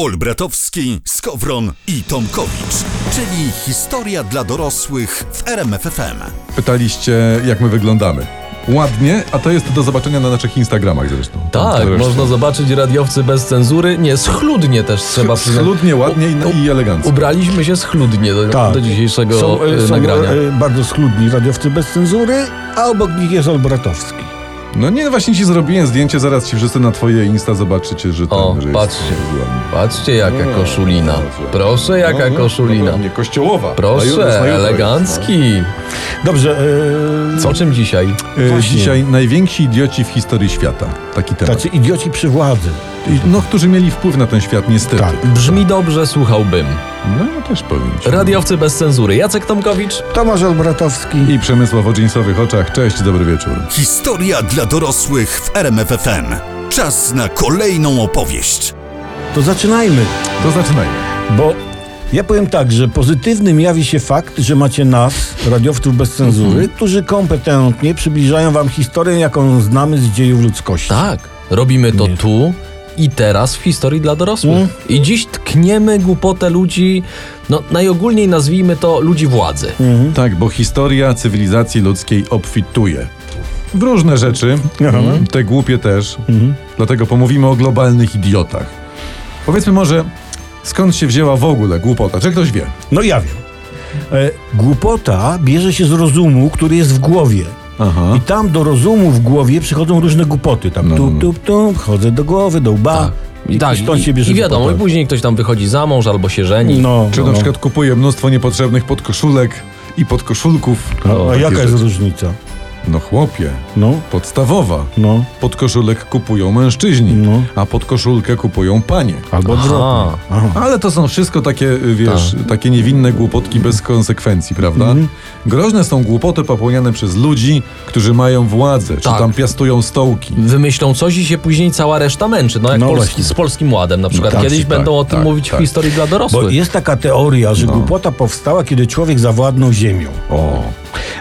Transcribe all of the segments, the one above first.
Olbratowski, Skowron i Tomkowicz, czyli historia dla dorosłych w RMFFM. pytaliście, jak my wyglądamy. Ładnie, a to jest do zobaczenia na naszych Instagramach zresztą. Tak, Zresztą. można zobaczyć radiowcy bez cenzury. Nie, schludnie też trzeba przyznać. Schludnie, ładnie i, i elegancko. Ubraliśmy się schludnie do, Tak. do dzisiejszego Są, e, y, e, są nagrania. e, bardzo schludni radiowcy bez cenzury, a obok nich jest Olbratowski. No nie, właśnie ci zrobiłem zdjęcie, zaraz ci wszyscy na twoje Insta zobaczycie, że, ten, O, że patrzcie. jest ładnie. Patrzcie jaka No, koszulina. dobrze. Proszę jaka No, no, koszulina. no, nie, kościołowa. Na jutro, na No. Proszę, jutro jest, no. elegancki. Dobrze, e, Co czym dzisiaj? E, Właśnie. Dzisiaj najwięksi idioci w historii świata. Taki temat. tacy idioci przy władzy. I, no, którzy mieli wpływ na ten świat, niestety. Tak. Brzmi dobrze, słuchałbym. No ja też powiem ci. Radiowcy bez cenzury. Jacek Tomkowicz. Tomasz Olbratowski. I Przemysław o dżinsowych oczach. Cześć, dobry wieczór. Historia dla dorosłych w RMFFM. Czas na kolejną opowieść. To zaczynajmy, To zaczynajmy. bo ja powiem tak, że pozytywnym jawi się fakt, że macie nas, radiowców bez cenzury, którzy kompetentnie przybliżają wam historię, jaką znamy z dziejów ludzkości. Tak, robimy to Nie. tu i teraz w historii dla dorosłych. Mm. I dziś tkniemy głupotę ludzi, no najogólniej nazwijmy to ludzi władzy. Tak, bo historia cywilizacji ludzkiej obfituje. W różne rzeczy, mm, te głupie też, Mhm. dlatego pomówimy o globalnych idiotach. Powiedzmy może, skąd się wzięła w ogóle głupota? Czy ktoś wie? No ja wiem. E, głupota bierze się z rozumu, który jest w głowie. Aha. I tam do rozumu w głowie przychodzą różne głupoty. Tam No, tu, no. tu, tu, chodzę do głowy, do łba. I, tak, stąd i, się bierze i wiadomo, i głupota. później ktoś tam wychodzi za mąż albo się żeni. No, Czy no, na no. przykład kupuje mnóstwo niepotrzebnych podkoszulek i podkoszulków? No, a Takie jaka jest rzeczy. różnica? No chłopie, No, podstawowa. no. Podkoszulek kupują mężczyźni, No. a podkoszulkę kupują panie. Albo odwrotnie. Aha. Aha. Ale to są wszystko takie, y, wiesz, Tak. takie niewinne głupotki bez konsekwencji, prawda? Mhm. Groźne są głupoty popełniane przez ludzi, którzy mają władzę, czy Tak. tam piastują stołki. Wymyślą coś i się później cała reszta męczy. No jak No polski, właśnie. No z polskim ładem na przykład. tak, Kiedyś tak, będą o tym tak, mówić tak. w historii dla dorosłych. Bo jest taka teoria, że głupota powstała, kiedy człowiek zawładnął ziemią. O,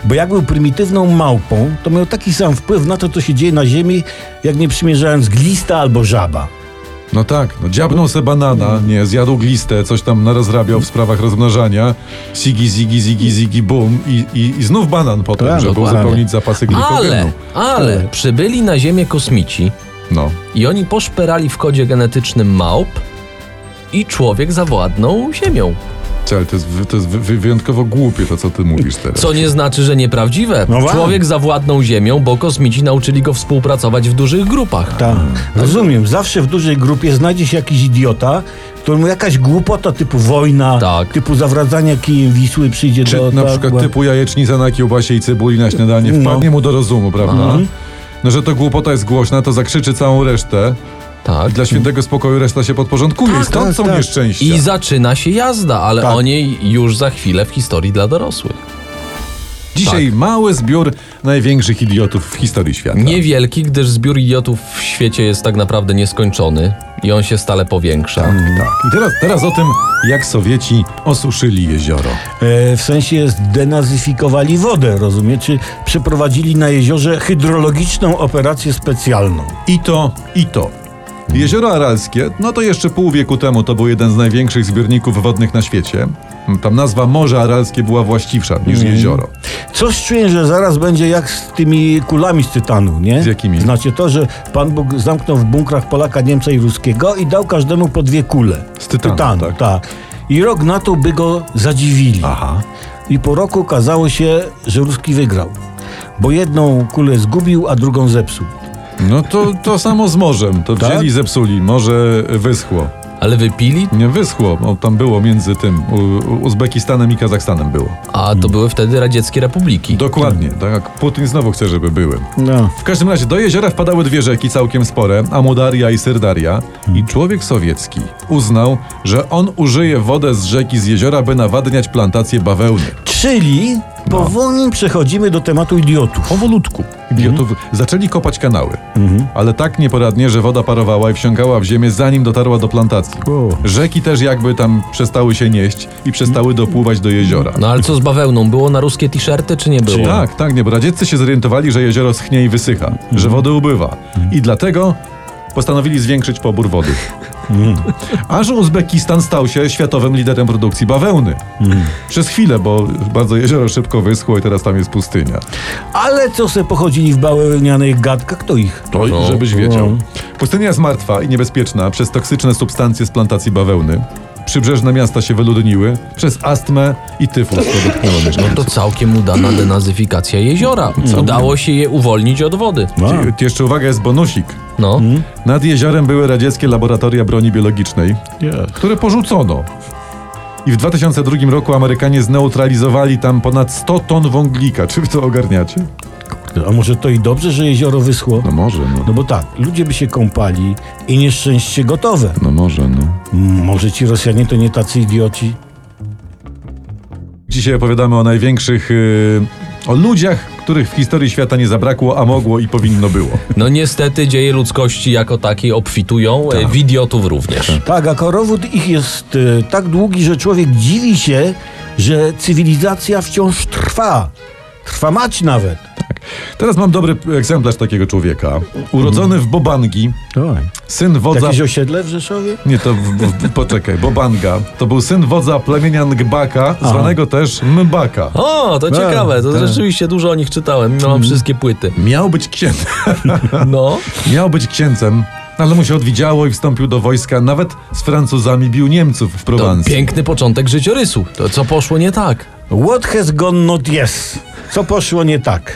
Bo jak był prymitywną małpą, to miał taki sam wpływ na to, co się dzieje na ziemi, jak nie przymierzając glista albo żaba. no tak, no dziabnął se banana, Mhm. nie, zjadł glistę, coś tam narazrabiał w sprawach rozmnażania, sigi, zigi, zigi, zigi, bum i, i, i znów banan potem, Tak, żeby dokładnie. uzupełnić zapasy glikogenu. Ale, ale przybyli na Ziemię kosmici No. i oni poszperali w kodzie genetycznym małp i człowiek zawładnął Ziemią. Cześć, to jest, wy- to jest wy- wy- wyjątkowo głupie to, co ty mówisz teraz. Co nie znaczy, że nieprawdziwe. No właśnie. Człowiek zawładnął ziemią, bo kosmici nauczyli go współpracować w dużych grupach. Tak. Rozumiem, zawsze w dużej grupie znajdzie się jakiś idiota, któremu jakaś głupota typu wojna, Tak. typu zawradzanie kijem Wisły przyjdzie Czy do... na do- przykład do- typu jajecznica na kiełbasie i cebuli na śniadanie tak, No. Mhm. wpadnie mu do rozumu, prawda? No, że to głupota jest głośna, to zakrzyczy całą resztę. Tak. Dla świętego spokoju reszta się podporządkuje i stąd tak, są tak. nieszczęścia. I zaczyna się jazda, ale Tak. o niej już za chwilę w historii dla dorosłych. Dzisiaj mały zbiór największych idiotów w historii świata. Niewielki, gdyż zbiór idiotów w świecie jest tak naprawdę nieskończony i on się stale powiększa. Tak. I teraz, teraz o tym, jak Sowieci osuszyli jezioro. E, w sensie zdenazyfikowali wodę, rozumie? Czy przeprowadzili na jeziorze hydrologiczną operację specjalną. I to, i to. Jezioro Aralskie, no to jeszcze pół wieku temu to był jeden z największych zbiorników wodnych na świecie. Tam nazwa Morze Aralskie była właściwsza niż Mhm. jezioro. Coś czuję, że zaraz będzie jak z tymi kulami z tytanu, nie? Z jakimi? Znacie to, że Pan Bóg zamknął w bunkrach Polaka, Niemca i Ruskiego i dał każdemu po dwie kule. Z tytanu, tak. I rok na to by go zadziwili. Aha. I po roku okazało się, że Ruski wygrał. Bo jedną kulę zgubił, a drugą zepsuł. No to, to samo z morzem. To Tak? wzięli i zepsuli. Morze wyschło. Ale wypili? Nie wyschło, o, tam było między tym, U- U- Uzbekistanem i Kazachstanem było. A to były wtedy radzieckie republiki. Dokładnie, tak jak Putin znowu chce, żeby były. No. W każdym razie do jeziora wpadały dwie rzeki całkiem spore, Amudaria i Syrdaria i człowiek sowiecki uznał, że on użyje wodę z rzeki z jeziora, by nawadniać plantację bawełny. Czyli powoli przechodzimy do tematu idiotów. Powolutku. Idiotów zaczęli kopać kanały, ale tak nieporadnie, że woda parowała i wsiąkała w ziemię, zanim dotarła do plantacji. Wow. Rzeki też jakby tam przestały się nieść i przestały dopływać do jeziora. No ale co z bawełną? Było na ruskie t-shirty, czy nie było? Tak, tak, nie, bo radzieccy się zorientowali, że jezioro schnie i wysycha, że wody ubywa. I dlatego postanowili zwiększyć pobór wody. Aż Uzbekistan stał się światowym liderem produkcji bawełny. Przez chwilę, bo bardzo jezioro szybko wyschło i teraz tam jest pustynia. Ale co se pochodzili w bawełnianych gadkach, to ich. To No żebyś wiedział. Pustynia jest martwa i niebezpieczna przez toksyczne substancje z plantacji bawełny. Przybrzeżne miasta się wyludniły przez astmę i tyfus produktywny mieszkańców. No To całkiem udana denazyfikacja jeziora. Udało się je uwolnić od wody. No. Ci- Jeszcze uwaga, jest bonusik. No. Nad jeziorem były radzieckie laboratoria broni biologicznej, które porzucono. I w 2002 roku Amerykanie zneutralizowali tam ponad 100 ton wąglika. Czy wy to ogarniacie? A może to i dobrze, że jezioro wyschło? No może, no. No bo tak, ludzie by się kąpali i nieszczęście gotowe. No może, no. Mm, Może ci Rosjanie to nie tacy idioci? Dzisiaj opowiadamy o największych... Yy, o ludziach, których w historii świata nie zabrakło, a mogło i powinno było. No niestety dzieje ludzkości jako takiej obfitują, tak. w idiotów również. Tak, a korowód ich jest e, tak długi, że człowiek dziwi się, że cywilizacja wciąż trwa. Trwa mać nawet. Teraz mam dobry egzemplarz takiego człowieka. Urodzony w Bobangi, syn wodza... Jakieś osiedle w Rzeszowie? Nie, to w, w, poczekaj, Bobanga. To był syn wodza plemienia Ngbaka, zwanego też Mbaka. O, to ciekawe, to rzeczywiście dużo o nich czytałem. No, mam wszystkie płyty. Miał być księdzem. No, Miał być księcem, ale mu się odwidziało i wstąpił do wojska. Nawet z Francuzami bił Niemców w to Prowansji. piękny początek życiorysu. To co poszło nie tak? What has gone not yes? Co poszło nie tak?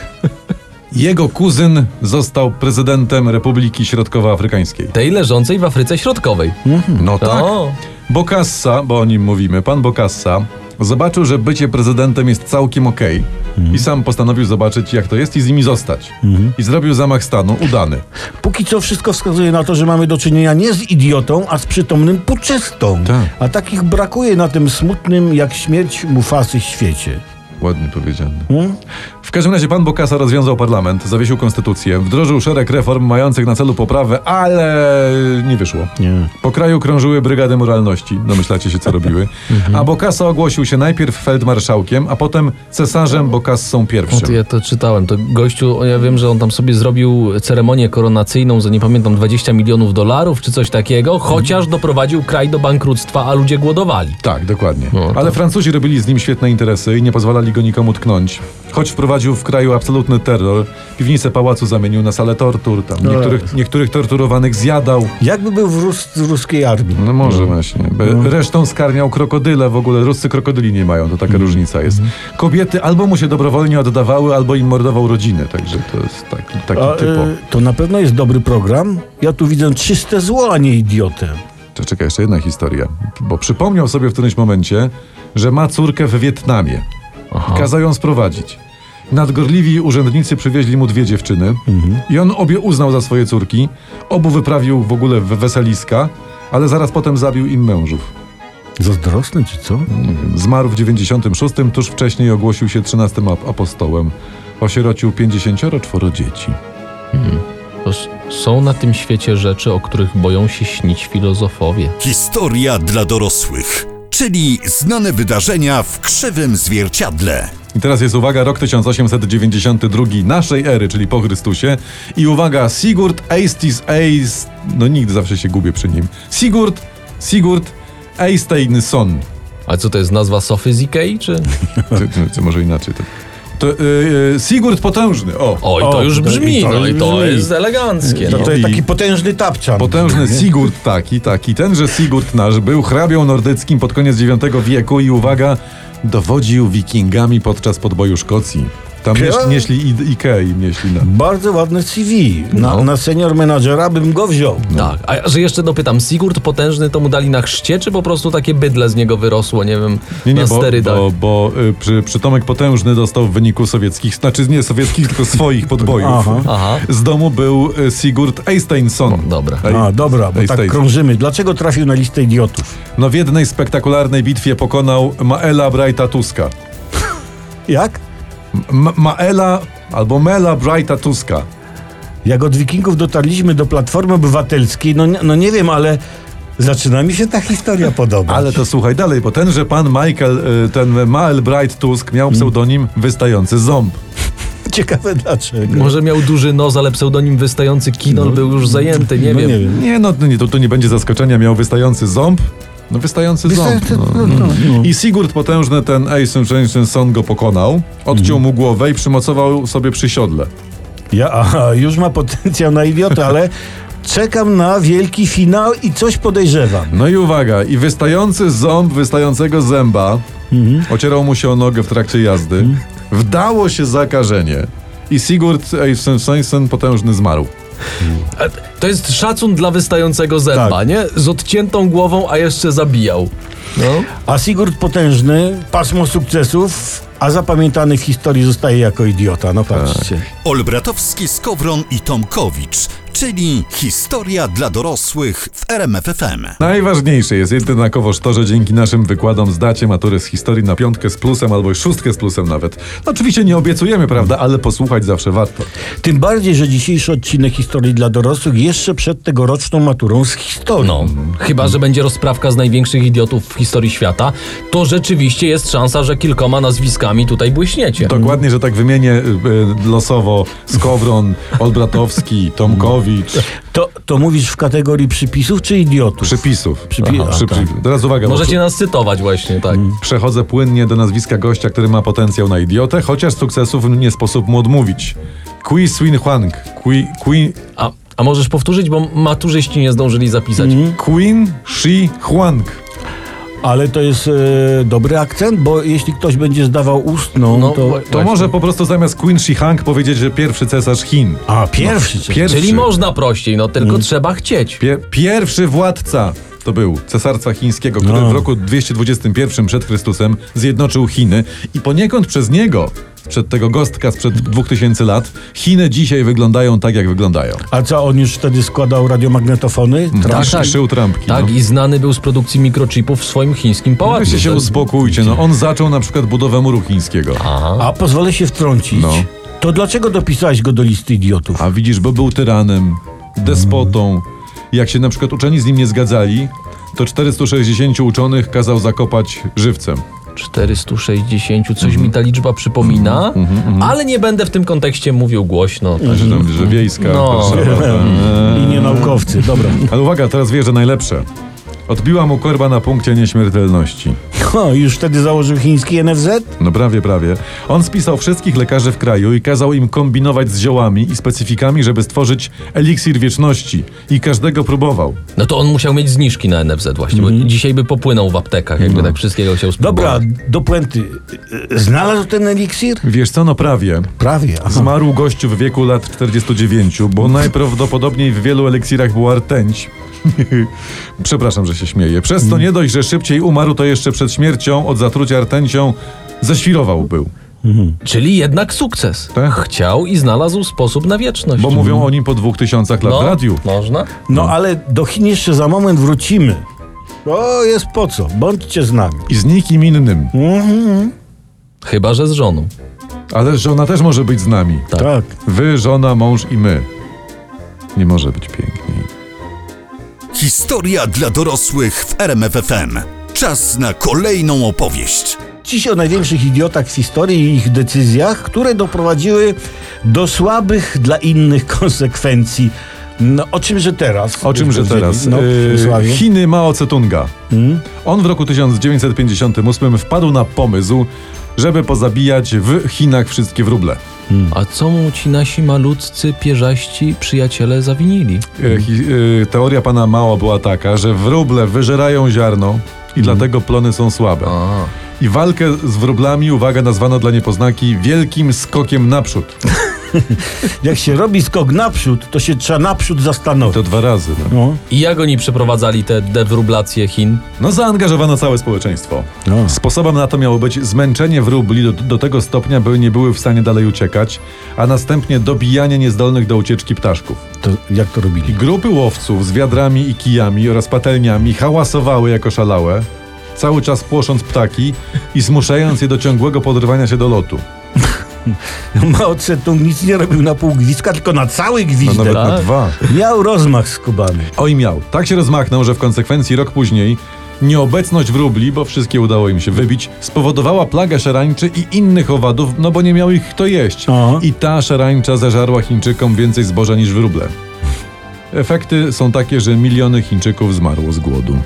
Jego kuzyn został prezydentem Republiki Środkowoafrykańskiej. Tej leżącej w Afryce Środkowej. No tak. O, Bokassa, bo o nim mówimy, pan Bokassa zobaczył, że bycie prezydentem jest całkiem okej Mhm. i sam postanowił zobaczyć, jak to jest i z nimi zostać. I zrobił zamach stanu, udany. Póki co wszystko wskazuje na to, że mamy do czynienia nie z idiotą, a z przytomnym puczystą. Tak. A takich brakuje na tym smutnym jak śmierć mufasy świecie. Ładnie powiedziane. No. W każdym razie pan Bokassa rozwiązał parlament, zawiesił konstytucję, wdrożył szereg reform mających na celu poprawę, ale nie wyszło. Nie. Po kraju krążyły brygady moralności, domyślacie się co robiły, Mhm. a Bokassa ogłosił się najpierw feldmarszałkiem, a potem cesarzem Bokassą I. to ja to czytałem. To gościu, ja wiem, że on tam sobie zrobił ceremonię koronacyjną za nie pamiętam 20 milionów dolarów czy coś takiego, Mhm. chociaż doprowadził kraj do bankructwa, a ludzie głodowali. Tak, dokładnie. No, Ale Francuzi robili z nim świetne interesy i nie pozwalali go nikomu tknąć. Choć wprowadził w kraju absolutny terror, piwnicę pałacu zamienił na salę tortur, tam niektórych, niektórych torturowanych zjadał. Jakby był w, Rus- z ruskiej armii. No może właśnie. Be- Resztą skarmiał krokodyle w ogóle. Ruscy krokodyli nie mają, to taka różnica jest. Kobiety albo mu się dobrowolnie oddawały, albo im mordował rodziny, także to jest taki, taki A, e, typo. to na pewno jest dobry program. Ja tu widzę czyste zło, a nie idiotę. To czekaj, jeszcze jedna historia. Bo przypomniał sobie w którymś momencie, że ma córkę w Wietnamie. Kazał ją sprowadzić. Nadgorliwi urzędnicy przywieźli mu dwie dziewczyny i on obie uznał za swoje córki. Obu wyprawił w ogóle w weseliska, ale zaraz potem zabił im mężów. Zazdrosny czy co? Nie wiem, Zmarł w 96, tuż wcześniej ogłosił się 13 ap- apostołem. Osierocił 54 dzieci. To s- są na tym świecie rzeczy, o których boją się śnić filozofowie. Historia dla dorosłych, czyli znane wydarzenia w krzywym zwierciadle. I teraz jest uwaga, rok 1892 naszej ery, czyli po Chrystusie. I uwaga, Sigurd Eistis Eis... No nigdy zawsze się gubię przy nim. Sigurd, Sigurd Eysteinsson. A co to jest nazwa Sofy z Ikei, czy? Czy, czy, czy może inaczej to... To y, y, Sigurd Potężny, o. Oj, to O, już to- brzmi, i to no i już to brzmi. jest eleganckie. No No. to jest I- taki potężny tapczan. Potężny Sigurd taki, taki. Tenże Sigurd nasz był hrabią nordyckim pod koniec IX wieku i uwaga, dowodził wikingami podczas podboju Szkocji. Tam Chyba- nieśli, nieśli i- Ikei, nieśli na... Bardzo ładne CV. Na, No. na senior menadżera bym go wziął. Tak, a że jeszcze dopytam, Sigurd potężny to mu dali na chrzcie, czy po prostu takie bydle z niego wyrosło, nie wiem, Nie, nie, na bo, sterydach? bo, bo y, przy, przytomek potężny dostał w wyniku sowieckich, znaczy nie sowieckich, tylko swoich podbojów. Aha. Aha. Z domu był y, Sigurd Eysteinsson. Dobra. Ej- A, dobra, bo tak Eysteins- krążymy. Dlaczego trafił na listę idiotów? No w jednej spektakularnej bitwie pokonał Maela Brighta Tuska. Jak? M- Maela albo Mela Brighta Tuska. Tak. Jak od wikingów dotarliśmy do Platformy Obywatelskiej, no, nie- no nie wiem, ale zaczyna mi się ta historia podobać. Ale to słuchaj dalej, bo tenże pan Michael, y, ten Mael Bright Tusk miał Mm. pseudonim wystający ząb. Ciekawe dlaczego. Może miał duży nos, ale pseudonim wystający kinol był już zajęty, nie no wiem. nie wiem. Nie, no to nie, to, to nie będzie zaskoczenia, miał wystający ząb. No wystający ząb. Wystarczy- No. no, no, no. I Sigurd potężny ten Eisen Son go pokonał, odciął mu głowę i przymocował sobie przy siodle. Ja, aha, już ma potencjał na idiotę, ale czekam na wielki finał i coś podejrzewam. No i uwaga, i wystający ząb wystającego zęba ocierał mu się o nogę w trakcie jazdy. Wdało się zakażenie. I Sigurd Eisen potężny zmarł. E, To jest szacun dla wystającego zęba, Tak. nie? Z odciętą głową, a jeszcze zabijał. No. A Sigurd potężny, pasmo sukcesów, a zapamiętany w historii zostaje jako idiota. No patrzcie. Olbratowski, Skowron i Tomkowicz, czyli historia dla dorosłych w RMFFM. Najważniejsze jest jednakowoż to, że dzięki naszym wykładom zdacie maturę z historii na piątkę z plusem albo szóstkę z plusem nawet. Oczywiście nie obiecujemy, prawda, ale posłuchać zawsze warto. Tym bardziej, że dzisiejszy odcinek historii dla dorosłych jeszcze przed tegoroczną maturą z historii. No, chyba że będzie rozprawka z największych idiotów w historii świata, to rzeczywiście jest szansa, że kilkoma nazwiskami tutaj błyśniecie. Dokładnie, że tak wymienię y, y, losowo Skowron, Olbratowski, Tomkowicz, To, to mówisz w kategorii przypisów czy idiotów? przypisów. Przypi- a, tak. Przy- przy- Teraz uwaga, bo Możecie nas cytować właśnie, tak. przechodzę płynnie do nazwiska gościa, który ma potencjał na idiotę, chociaż sukcesów nie sposób mu odmówić. Kui Swin Huang, Kui, Kui, A, a możesz powtórzyć, bo maturzyści nie zdążyli zapisać. Queen Shi Huang. Ale to jest e, dobry akcent, bo jeśli ktoś będzie zdawał ustną, No, to... bo- To może po prostu zamiast Queen Shi Huang powiedzieć, że pierwszy cesarz Chin. A, pierwszy. czy- Pierwszy. Czyli można prościej, no tylko trzeba chcieć. Pie- pierwszy władca to był cesarca chińskiego, który No. w roku 221 przed Chrystusem zjednoczył Chiny i poniekąd przez niego, przed tego gostka sprzed 2000 lat, Chiny dzisiaj wyglądają tak, jak wyglądają. A co, on już wtedy składał radiomagnetofony? Tak, tak. Szył trampki. Tak, no. i znany był z produkcji mikrochipów w swoim chińskim pałacu. Weźcie No, się To- uspokójcie, no on zaczął na przykład budowę muru chińskiego. A pozwolę się wtrącić. No. To dlaczego dopisałeś go do listy idiotów? A widzisz, bo był tyranem, despotą. Jak się na przykład uczeni z nim nie zgadzali, to 460 uczonych kazał zakopać żywcem. 460, coś mi ta liczba przypomina, ale nie będę w tym kontekście mówił głośno. Tak. Że tam, że wiejska. No. Warszawa, tak. I nie naukowcy, dobra. Ale uwaga, teraz wie, że najlepsze. Odbiła mu korba na punkcie nieśmiertelności. O, już wtedy założył chiński NFZ? No prawie, prawie. On spisał wszystkich lekarzy w kraju i kazał im kombinować z ziołami i specyfikami, żeby stworzyć eliksir wieczności. I każdego próbował. No to on musiał mieć zniżki na NFZ właśnie, bo dzisiaj by popłynął w aptekach, jakby tak wszystkiego chciał spróbować. Dobra, do puenty. Znalazł ten eliksir? Wiesz co, no prawie. Prawie. Aha. Zmarł gościu w wieku lat 49, bo najprawdopodobniej w wielu eliksirach była rtęć. Przepraszam, że się śmieję. Przez to nie dość, że szybciej umarł, to jeszcze przed śmiercią od zatrucia rtęcią zaświrował był. Czyli jednak sukces. Tak. Chciał i znalazł sposób na wieczność. Bo mówią o nim po dwóch tysiącach lat w No. radiu. Można? No ale do Chin jeszcze za moment wrócimy. O, jest po co. Bądźcie z nami. I z nikim innym. Chyba, że z żoną. Ale żona też może być z nami. Tak. Tak. Wy, żona, mąż i my. Nie może być piękniej. Historia dla dorosłych w RMFFM. Czas na kolejną opowieść. Dziś o największych idiotach w historii i ich decyzjach, które doprowadziły do słabych dla innych konsekwencji. No, o czymże teraz? O czymże teraz? No, Yy, Przemysławie. Chiny Mao Tse-tunga. On w roku 1958 wpadł na pomysł, żeby pozabijać w Chinach wszystkie wróble. Y, A co mu ci nasi malutcy, pierzaści przyjaciele zawinili? E, hi- e, Teoria pana Mao była taka, że wróble wyżerają ziarno i dlatego plony są słabe. I walkę z wróblami, uwaga, nazwano dla niepoznaki wielkim skokiem naprzód. Jak się robi skok naprzód, to się trzeba naprzód To zastanowić. dwa razy. No, No. I jak oni przeprowadzali te dewrublacje Chin? no zaangażowano całe społeczeństwo. No. Sposobem na to miało być zmęczenie wróbli do, do tego stopnia, by nie były w stanie dalej uciekać, a następnie dobijanie niezdolnych do ucieczki ptaszków. To jak to I robili? grupy łowców z wiadrami i kijami oraz patelniami hałasowały jako szalałe, cały czas płosząc ptaki i zmuszając je do ciągłego podrywania się do lotu. Mao Tse-tung nic nie robił na pół gwizdka, tylko na cały No, gwizdek. nawet na tak? dwa. Miał rozmach skubany. Oj miał. Tak się rozmachnął, że w konsekwencji rok później nieobecność wróbli, bo wszystkie udało im się wybić, spowodowała plagę szarańczy i innych owadów, no bo nie miał ich kto jeść. Aha. I ta szarańcza zażarła Chińczykom więcej zboża niż wróble. Efekty są takie, że miliony Chińczyków zmarło z głodu.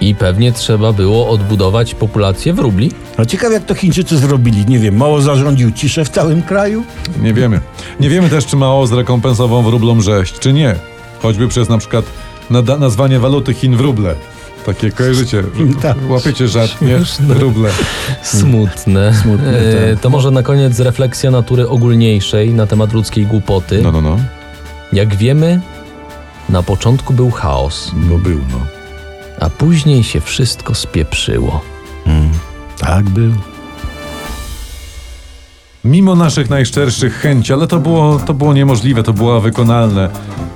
I pewnie trzeba było odbudować populację wróbli. No ciekawe jak to Chińczycy zrobili. Nie wiem, Mao zarządził ciszę w całym kraju? Nie wiemy. Nie wiemy też, czy Mao zrekompensował wróblom rzeź, czy nie. Choćby przez na przykład nada- nazwanie waluty Chin wróble. Takie kojarzycie, Tak. łapiecie żart, nie? Wróble. Smutne. E, to może na koniec refleksja natury ogólniejszej na temat ludzkiej głupoty. No, no, no. Jak wiemy, na początku był chaos, Bo był, no. a później się wszystko spieprzyło. Tak był. Mimo naszych najszczerszych chęci, ale to było, to było niemożliwe, to było wykonalne.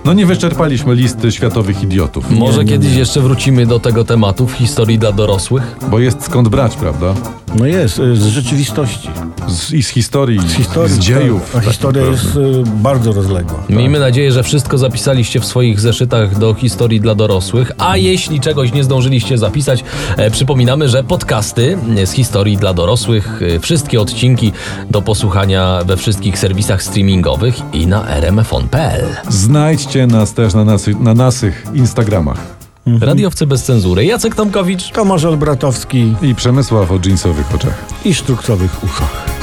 No nie wyczerpaliśmy listy światowych idiotów, Może kiedyś jeszcze wrócimy do tego tematu w historii dla dorosłych? bo jest skąd brać, prawda? No jest, y, z rzeczywistości. Z, I z historii, Z historii. tak. z dziejów. tak, A historia jest y, bardzo rozległa. Miejmy nadzieję, że wszystko zapisaliście w swoich zeszytach do historii dla dorosłych, a jeśli czegoś nie zdążyliście zapisać, e, przypominamy, że podcasty e, z historii dla dorosłych, e, wszystkie odcinki do posłuchania we wszystkich serwisach streamingowych i na rmfon.pl. Znajdźcie nas też na, nasy, na naszych Instagramach. Radiowcy bez cenzury. Jacek Tomkowicz. Tomasz Olbratowski I Przemysław o dżinsowych oczach. i Sztukcowych Uszach.